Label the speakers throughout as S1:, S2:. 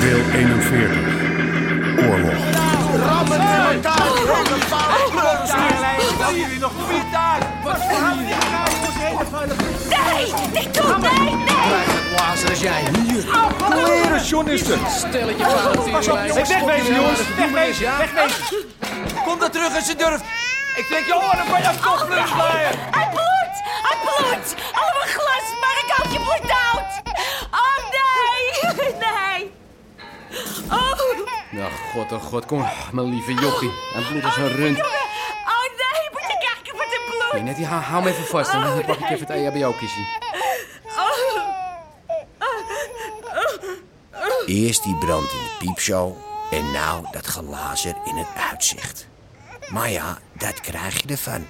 S1: Deel 41. Oorlog.
S2: Rammen in elkaar, rammen vuile kleurenspiegel. Wil jullie nog niet daar? Wat voor je nou?
S3: Nee, niet doen, nee, nee!
S2: Blazen als jij hier. Leren journalisten.
S4: Stelletje van Pas op, jongens.
S2: Wegwezen jongens,
S4: Wegwezen,
S2: wegwezen, wegwezen. Kom daar terug als je durft. Ik trek je oren van je kop, luchtlaaier.
S3: Hij bloedt! Hij bloedt! Allemaal glas, maar ik houd je bloed uit! Oh, nee! Nee! Oh!
S4: Nou, god, oh god, kom maar, mijn lieve jochie. Hij bloedt als een rund.
S3: Oh, nee, moet je kijken wat er
S4: Nee,
S3: bloed!
S4: net die, hou, hou hem even vast en dan
S3: Oh,
S4: pak ik
S3: nee.
S4: even het E EHBO-kissie.
S5: Eerst die brand in de piepshow en nou dat glazer in het uitzicht. Maar ja, dat krijg je ervan.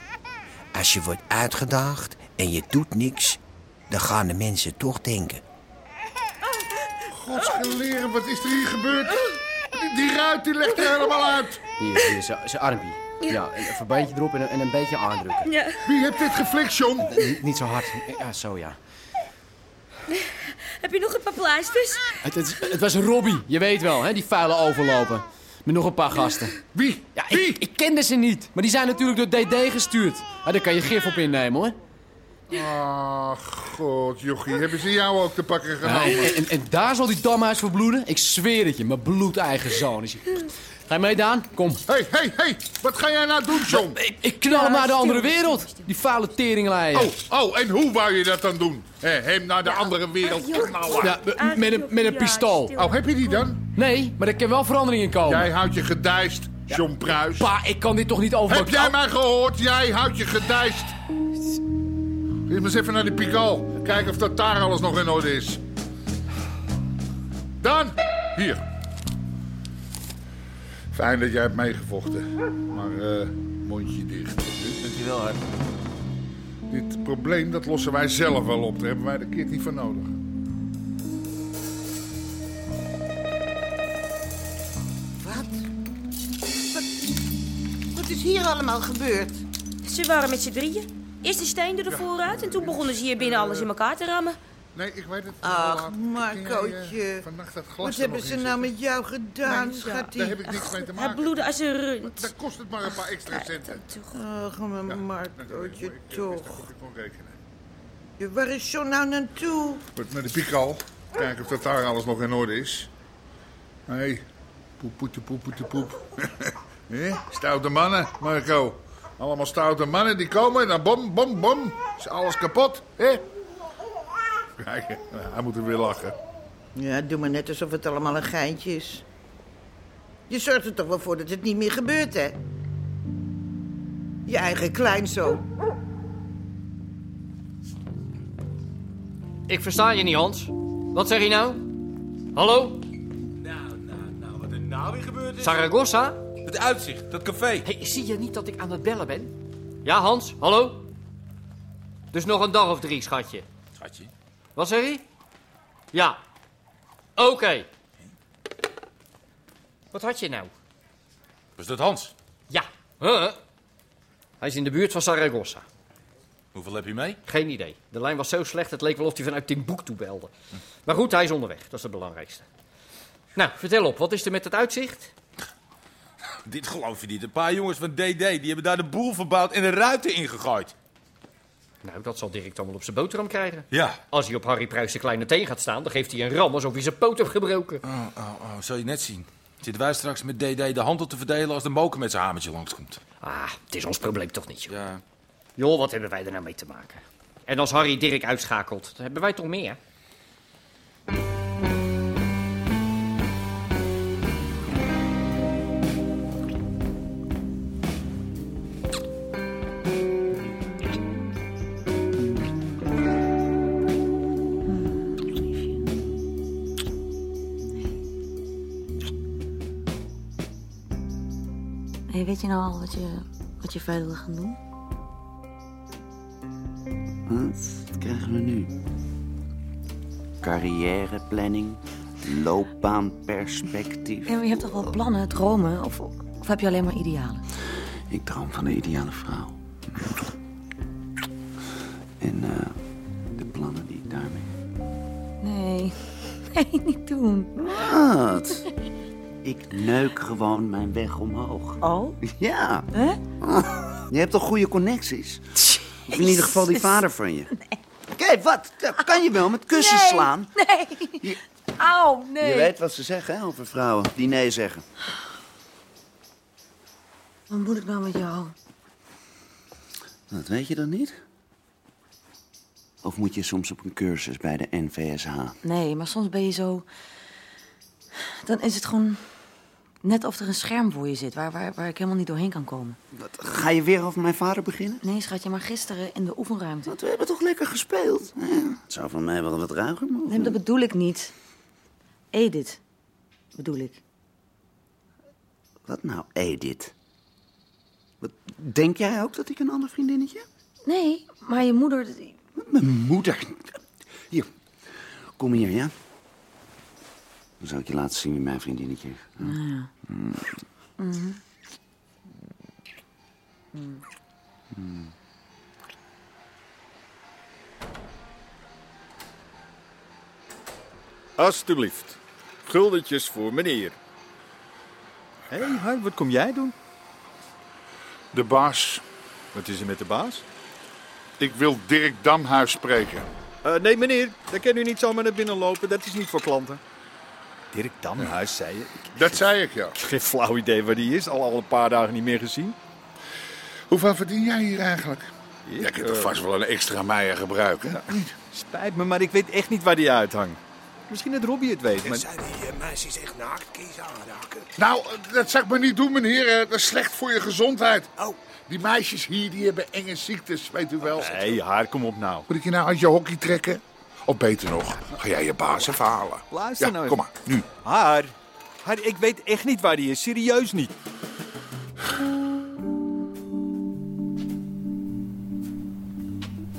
S5: Als je wordt uitgedaagd en je doet niks, dan gaan de mensen toch denken.
S6: Godsgeleren, wat is er hier gebeurd? Die, die ruit die legt er helemaal uit.
S4: Hier, hier, zijn zijn armpje. Ja, een verbandje erop en, een- en een beetje aandrukken.
S7: Ja,
S6: Wie heeft dit geflikt, John?
S4: Niet, niet zo hard. Ja, zo ja.
S7: heb je nog een paar pleisters?
S4: Het, het, het was Robbie, je weet wel, hè, die vuile overlopen. Met nog een paar gasten.
S6: Wie?
S4: Ja, ik,
S6: Wie?
S4: ik kende ze niet, maar die zijn natuurlijk door DD gestuurd. Ah, daar kan je gif op innemen hoor.
S6: Ach, god, jochie. Hebben ze jou ook te pakken
S4: Ja,
S6: genomen?
S4: en, en, en daar zal die damhuis voor bloeden? Ik zweer het je, mijn bloedeigen zoon is je. Ga je mee, Daan? Kom.
S6: Hé, hé, hé. Wat ga jij nou doen, John?
S4: Ik, ik knal hem naar de andere wereld. Die vuile teringlaaien.
S6: Oh, oh, en hoe wou je dat dan doen? Hè, hem naar de andere wereld knallen.
S4: Ja, m- met een, met een
S7: Ja,
S4: pistool.
S7: stil.
S6: Oh, heb je die dan?
S4: Nee, maar er kan wel verandering in komen.
S6: Jij houdt je gedijst, John Pruis.
S4: Pa, ik kan dit toch niet over...
S6: Heb jij mij gehoord? Jij houdt je gedijst. Eerst maar eens even naar die pikal. Kijken of dat daar alles nog in orde is. Dan, hier. Fijn dat jij hebt meegevochten. Maar eh, mondje dicht.
S2: Dankjewel, hè.
S6: Dit probleem dat lossen wij zelf wel op. Daar hebben wij de kit niet voor nodig.
S8: Wat? Wat, wat is hier allemaal gebeurd?
S7: Ze waren met z'n drieën. Eerst de steen er de vooruit en toen begonnen ze hier binnen alles in elkaar te rammen.
S6: Nee, ik weet het.
S8: Ach,
S6: Laat.
S8: Marcootje.
S6: Ging jij, eh, vannacht dat glas
S8: Wat
S6: er
S8: hebben
S6: nog
S8: ze
S6: in
S8: nou
S6: zitten?
S8: met jou gedaan,
S7: Maar ja,
S6: Daar
S8: schatje?
S6: heb ik niks mee te
S7: Hij
S6: maken.
S7: bloedde als een rund.
S6: Dat kost het maar een paar extra centen.
S8: Ach, mijn Marcootje,
S6: Ik eh, wist
S8: toch.
S6: dat ik kon rekenen.
S8: Ja, Waar is John nou naartoe?
S6: Wordt naar de pikal. Kijken of dat daar alles nog in orde is. Nee. Poep, poete, poep, poete, poep. Hé, stoute mannen, Marco. Allemaal stoute mannen die komen en dan bom, bom, bom. Is alles kapot, hè? Kijk, nou, hij moet er weer lachen.
S8: Ja, doe maar net alsof het allemaal een geintje is. Je zorgt er toch wel voor dat het niet meer gebeurt, hè? Je eigen kleinzoon.
S9: Ik versta je niet, Hans. Wat zeg je nou? Hallo?
S2: Nou, nou, nou, wat er nou weer gebeurd is.
S9: Saragossa?
S2: Het uitzicht, dat café.
S4: Hey, zie je niet dat ik aan het bellen ben?
S9: Ja, Hans, hallo? Dus nog een dag of drie, schatje.
S2: Schatje.
S9: Wat zeg je? Ja. Oké. Wat had je nou?
S2: Was dat Hans?
S9: Ja. Huh? Hij is in de buurt van Saragossa.
S2: Hoeveel heb je mee?
S9: Geen idee. De lijn was zo slecht, het leek wel of hij vanuit Timbuktu belde. Maar goed, hij is onderweg. Dat is het belangrijkste. Nou, vertel op. Wat is er met het uitzicht?
S2: Dit geloof je niet. Een paar jongens van DD die hebben daar de boel verbouwd en de ruiten ingegooid.
S9: Nou, dat zal Dirk dan wel op zijn boterham krijgen.
S2: Ja.
S9: Als hij op Harry Pruis de kleine teen gaat staan, dan geeft hij een ram alsof hij zijn poot heeft gebroken.
S2: Oh, oh, oh, zal je net zien. Zitten wij straks met DD de handel te verdelen als de moker met zijn hamertje langskomt?
S9: Ah, het is ons probleem toch niet, joh.
S2: Ja.
S9: Joh, wat hebben wij er nou mee te maken? En als Harry Dirk uitschakelt, dan hebben wij toch meer?
S10: hey, weet je nou al wat je, wat je verder wil gaan doen?
S11: Wat krijgen we nu? Carrièreplanning, loopbaanperspectief.
S10: Ja, maar je hebt toch wel plannen, dromen? Of, of heb je alleen maar idealen?
S11: Ik droom van de ideale vrouw. En eh, de plannen die ik daarmee
S10: Nee. Nee, niet doen.
S11: Wat? Ik neuk gewoon mijn weg omhoog.
S10: Oh?
S11: Ja.
S10: Hè?
S11: Je hebt toch goede connecties? Of in ieder geval die vader van je. Kijk, wat? Dat Kan je wel met kussens
S10: Nee,
S11: slaan?
S10: Nee. Auw, nee.
S11: Je weet wat ze zeggen hè, over vrouwen die nee zeggen.
S10: Wat moet ik nou met jou?
S11: Dat weet je dan niet? Of moet je soms op een cursus bij de NVSH?
S10: Nee, maar soms ben je zo... Dan is het gewoon net of er een scherm voor je zit... waar, waar, waar ik helemaal niet doorheen kan komen.
S11: Ga je weer over mijn vader beginnen?
S10: Nee, schatje, maar gisteren in de oefenruimte.
S11: Want we hebben toch lekker gespeeld? Het zou van mij wel wat ruiger mogen.
S10: Nee, maar dat bedoel ik niet. Edith, bedoel ik.
S11: Wat nou, Edith? Wat, denk jij ook dat ik een ander vriendinnetje heb?
S10: Nee, maar je moeder...
S11: Mijn moeder. Hier, kom hier, ja? Dan zal ik je laten zien wie mijn vriendinnetje is. hè?
S10: Nou ja.
S11: Mm.
S10: Mhm.
S11: Mm.
S12: Alsjeblieft. Guldetjes voor meneer. Hé, hey, Harm, wat kom jij doen?
S6: De baas.
S12: Wat is er met de baas?
S6: Ik wil Dirk Damhuis spreken.
S12: Eh, nee, meneer. Daar kan u niet zomaar naar binnen lopen. Dat is niet voor klanten. Dirk Damhuis, zei je?
S6: Dat zei ik, ja.
S12: Geen flauw idee waar die is. Al, al een paar dagen niet meer gezien.
S6: Hoeveel verdien jij hier eigenlijk? Jij kunt er
S12: eh,
S6: vast wel een extra meier gebruiken. Ja.
S12: Spijt me, maar ik weet echt niet waar die uithangt. Misschien dat Robbie het weet. Maar...
S5: Zijn die eh, meisjes echt naakt? Kies aanraken.
S6: Nou, eh, dat zou ik maar niet doen, meneer. Eh, Dat is slecht voor je gezondheid.
S5: Oh.
S6: Die meisjes hier, die hebben enge ziektes, weet u wel.
S12: Nee, haar, kom op nou.
S6: Moet ik je nou uit je hockey trekken? Of beter nog, ga jij je baas even halen?
S12: Luister
S6: ja,
S12: nou
S6: kom maar. nu.
S12: Haar, haar, ik weet echt niet waar die is. Serieus niet.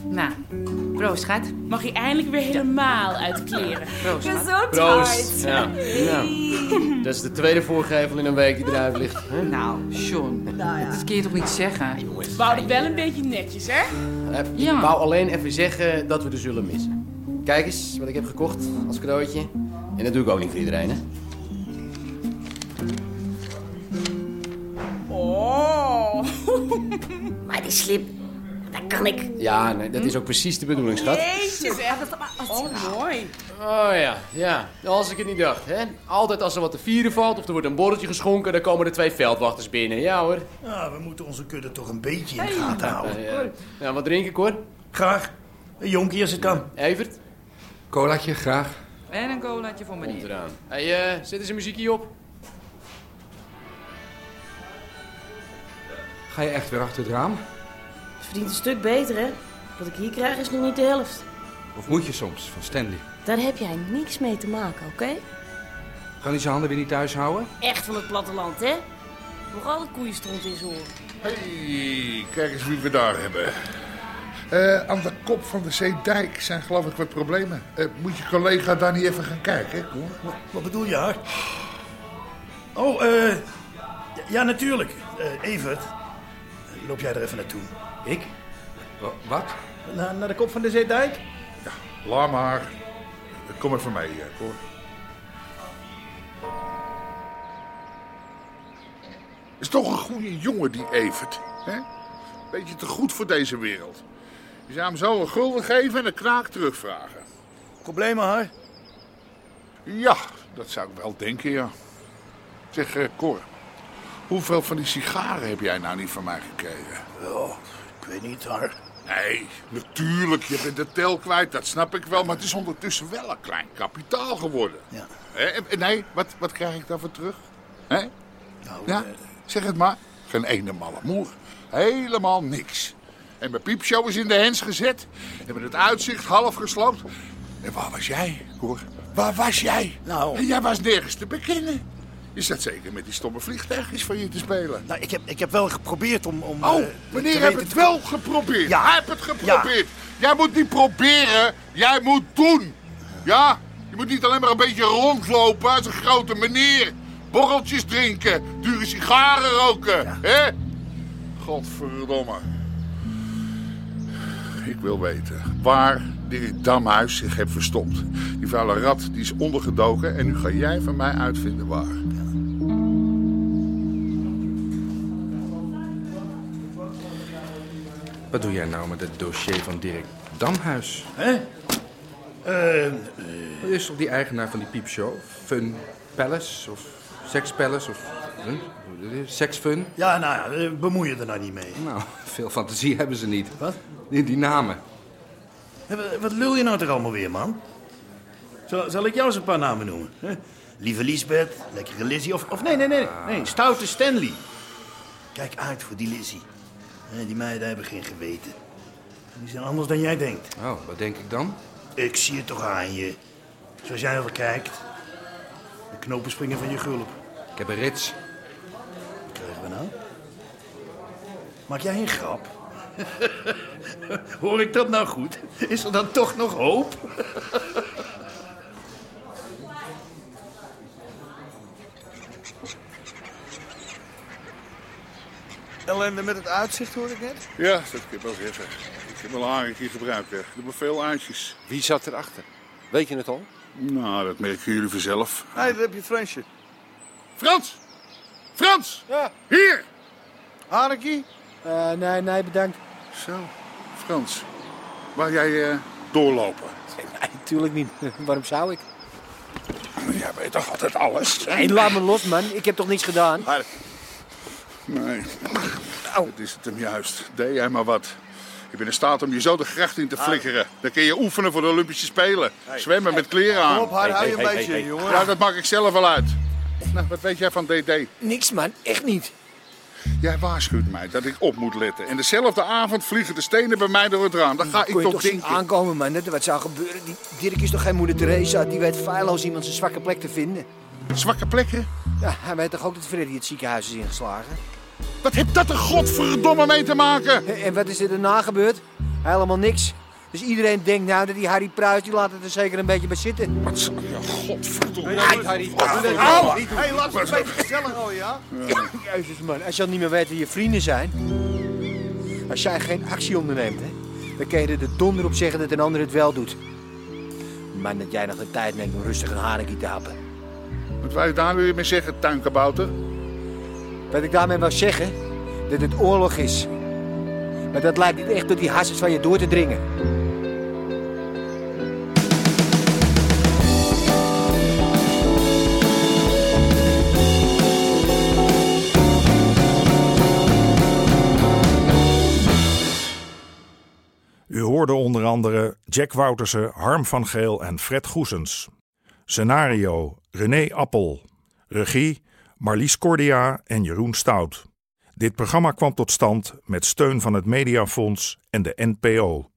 S13: Nou, proost, schat.
S7: Mag je eindelijk weer helemaal uitkleren?
S13: Proost.
S7: Gezondheid.
S4: Ja. Ja. Dat is de tweede voorgevel in een week die eruit ligt.
S13: Nou, Sean. Dat kun je toch niet zeggen?
S7: Wou het wel een beetje netjes, hè?
S4: Eh,
S13: Ja.
S4: Ik wou alleen even zeggen dat we er zullen missen. Kijk eens wat ik heb gekocht als cadeautje. En dat doe ik ook niet voor iedereen, hè?
S3: Oh.
S10: Maar Ah, die slip, dat kan ik.
S4: Ja, nee, dat is ook precies de bedoeling, schat.
S3: Jeetje zeg. Oh, mooi.
S4: Oh ja, ja. Als ik het niet dacht, hè. Altijd als er wat te vieren valt of er wordt een borreltje geschonken... dan komen er twee veldwachters binnen. Ja hoor.
S14: Ja, we moeten onze kudde toch een beetje in de gaten houden.
S4: Ja, ja, wat drink ik hoor?
S14: Graag. Een jonkie als het kan.
S4: Evert?
S15: Colaatje, graag.
S13: En een colaatje voor meneer.
S4: eraan. Hé, hey, eh, zet eens een muziekje op.
S15: Ga je echt weer achter het raam?
S7: Het verdient een stuk beter, hè? Wat ik hier krijg is nog niet de helft.
S15: Of moet je soms, van Stanley?
S7: Daar heb jij niks mee te maken, oké?
S15: Gaan die zijn handen weer niet thuis houden?
S7: Echt van het platteland, hè? Nog altijd koeienstront in zijn oor.
S6: Hey, kijk eens wie we daar hebben. Eh, aan de kop van de Zeedijk zijn geloof ik wat problemen. Eh, moet je collega daar niet even gaan kijken? Koen?
S14: Wat bedoel je, Hart? Oh, eh... ja, natuurlijk. Eh, Evert, loop jij er even naartoe? Ik?
S15: wat?
S14: Na, naar de kop van de Zeedijk?
S6: Laat maar. Kom even mee, eh, Cor. Is toch een goede jongen, die Evert. Hè? Beetje te goed voor deze wereld. Je zou hem zo een gulden geven en een kraak terugvragen.
S14: Problemen, haar?
S6: Ja, dat zou ik wel denken, ja. Zeg, eh, Cor. Hoeveel van die sigaren heb jij nou niet van mij gekregen?
S14: Oh, ik weet niet, haar.
S6: Nee, natuurlijk. Je bent de tel kwijt, dat snap ik wel. Maar het is ondertussen wel een klein kapitaal geworden.
S14: Ja.
S6: Hè, en- en Nee, wat, wat krijg ik daarvoor terug? Hè?
S14: Nou,
S6: ja? Zeg het maar. Geen ene malle moer. Helemaal niks. En mijn piepshow is in de hens gezet. Hebben het uitzicht half gesloopt. En waar was jij, hoor? Waar was jij?
S14: Nou...
S6: En jij was nergens te bekennen. Je zat zeker met die stomme vliegtuigjes van je te spelen.
S14: Nou, ik heb, ik heb wel geprobeerd om... om
S6: Oh,
S14: eh,
S6: meneer
S14: te
S6: heeft
S14: weten
S6: het
S14: te-
S6: wel geprobeerd.
S14: Ja.
S6: Hij heeft het geprobeerd. Jij moet niet proberen, jij moet doen. Ja? Je moet niet alleen maar een beetje rondlopen als een grote meneer. Borreltjes drinken, dure sigaren roken. Hè? Godverdomme. Ik wil weten waar dit damhuis zich heeft verstopt. Die vuile rat die is ondergedoken en nu ga jij van mij uitvinden waar.
S16: Wat doe jij nou met het dossier van Dirk Damhuis?
S14: Hè? Eh,
S16: Wat is toch die eigenaar van die piepshow? Fun Palace of Sex Palace of hm? Sex Fun?
S14: Ja, nou ja, eh, bemoei je er nou niet mee.
S16: Nou, veel fantasie hebben ze niet.
S14: Wat?
S16: Die, die namen.
S14: Hé, wa- Wat lul je nou toch allemaal weer, man? Zal, zal ik jou eens een paar namen noemen? hè? Lieve Lisbeth, lekkere Lizzie of... of nee, nee, nee, nee, stoute Stanley. Kijk uit voor die Lizzie. Hè, Die meiden hebben geen geweten. Die zijn anders dan jij denkt.
S16: Oh, wat denk ik dan?
S14: Ik zie het toch aan je. Zoals jij over kijkt. De knopen springen van je gulp.
S16: Ik heb een rits.
S14: Wat krijgen we nou? Maak jij een grap? Hoor ik dat nou goed? Is er dan toch nog hoop?
S11: Ellende met het uitzicht hoor ik net.
S6: Ja, dat kan ik ook zeggen. Ik heb al een keer gebruikt, hè. Ik heb er veel aantjes.
S17: Wie zat erachter? Weet je het al?
S6: Nou, dat merken jullie vanzelf.
S11: Nee, daar heb je Fransje.
S6: Frans! Frans! Ja. Hier!
S11: Hanekie?
S4: Eh,
S11: nee, nee, bedankt.
S6: Zo, Frans. Waar jij eh, doorlopen?
S4: Natuurlijk niet. Waarom zou ik?
S6: Jij weet toch altijd alles?
S4: Hey, laat me los, man. Ik heb toch niets gedaan?
S6: Nee. Dat is het hem juist. Deed jij maar wat. Je bent in staat om je zo de gracht
S11: Ah.
S6: in te flikkeren. Dan kun je oefenen voor de Olympische Spelen. Zwemmen met kleren aan.
S11: Kom op, Harry, hou je een Hey, hey, beetje, hey, hey. jongen.
S6: Ja, dat maak ik zelf wel uit. Nou, wat weet jij van DD?
S4: Niks, man. Echt niet.
S6: Jij waarschuwt mij dat ik op moet letten. En dezelfde avond vliegen de stenen bij mij door het raam.
S11: Nou,
S6: Dan ga ik
S4: Kon je
S6: toch
S4: toch zien
S6: denken.
S4: aankomen, man, dat er wat zou gebeuren. Die Dirk is toch geen moeder Teresa? Die weet feilloos iemand zijn zwakke plek te vinden.
S6: Zwakke plekken?
S4: Ja, hij weet toch ook dat Freddy het ziekenhuis is ingeslagen?
S6: Wat heeft dat er godverdomme mee te maken?
S4: En wat is er daarna gebeurd? Helemaal niks. Dus iedereen denkt nou dat die Harry Pruis, die laat het er zeker een beetje bij zitten.
S6: Wat zal je godverdomme...
S4: Harry.
S6: Au!
S11: Hey, laat het een beetje gezellig houden, ja?
S4: Jezus man, als je al niet meer weet wie je vrienden zijn. Als jij geen actie onderneemt, hè, dan kun je er de donder op zeggen dat een ander het wel doet. Maar dat jij nog de tijd neemt om rustig een hanekie te happen.
S6: Wat wij daar weer mee zeggen, tuinkabouter?
S4: Wat ik daarmee wil zeggen, dat het oorlog is. Maar dat lijkt niet echt door die hassers van je door te dringen.
S1: U hoorde onder andere Jack Woutersen, Harm van Geel en Fred Goesens. Scenario René Appel. Regie Marlies Cordia en Jeroen Stout. Dit programma kwam tot stand met steun van het Mediafonds en de NPO.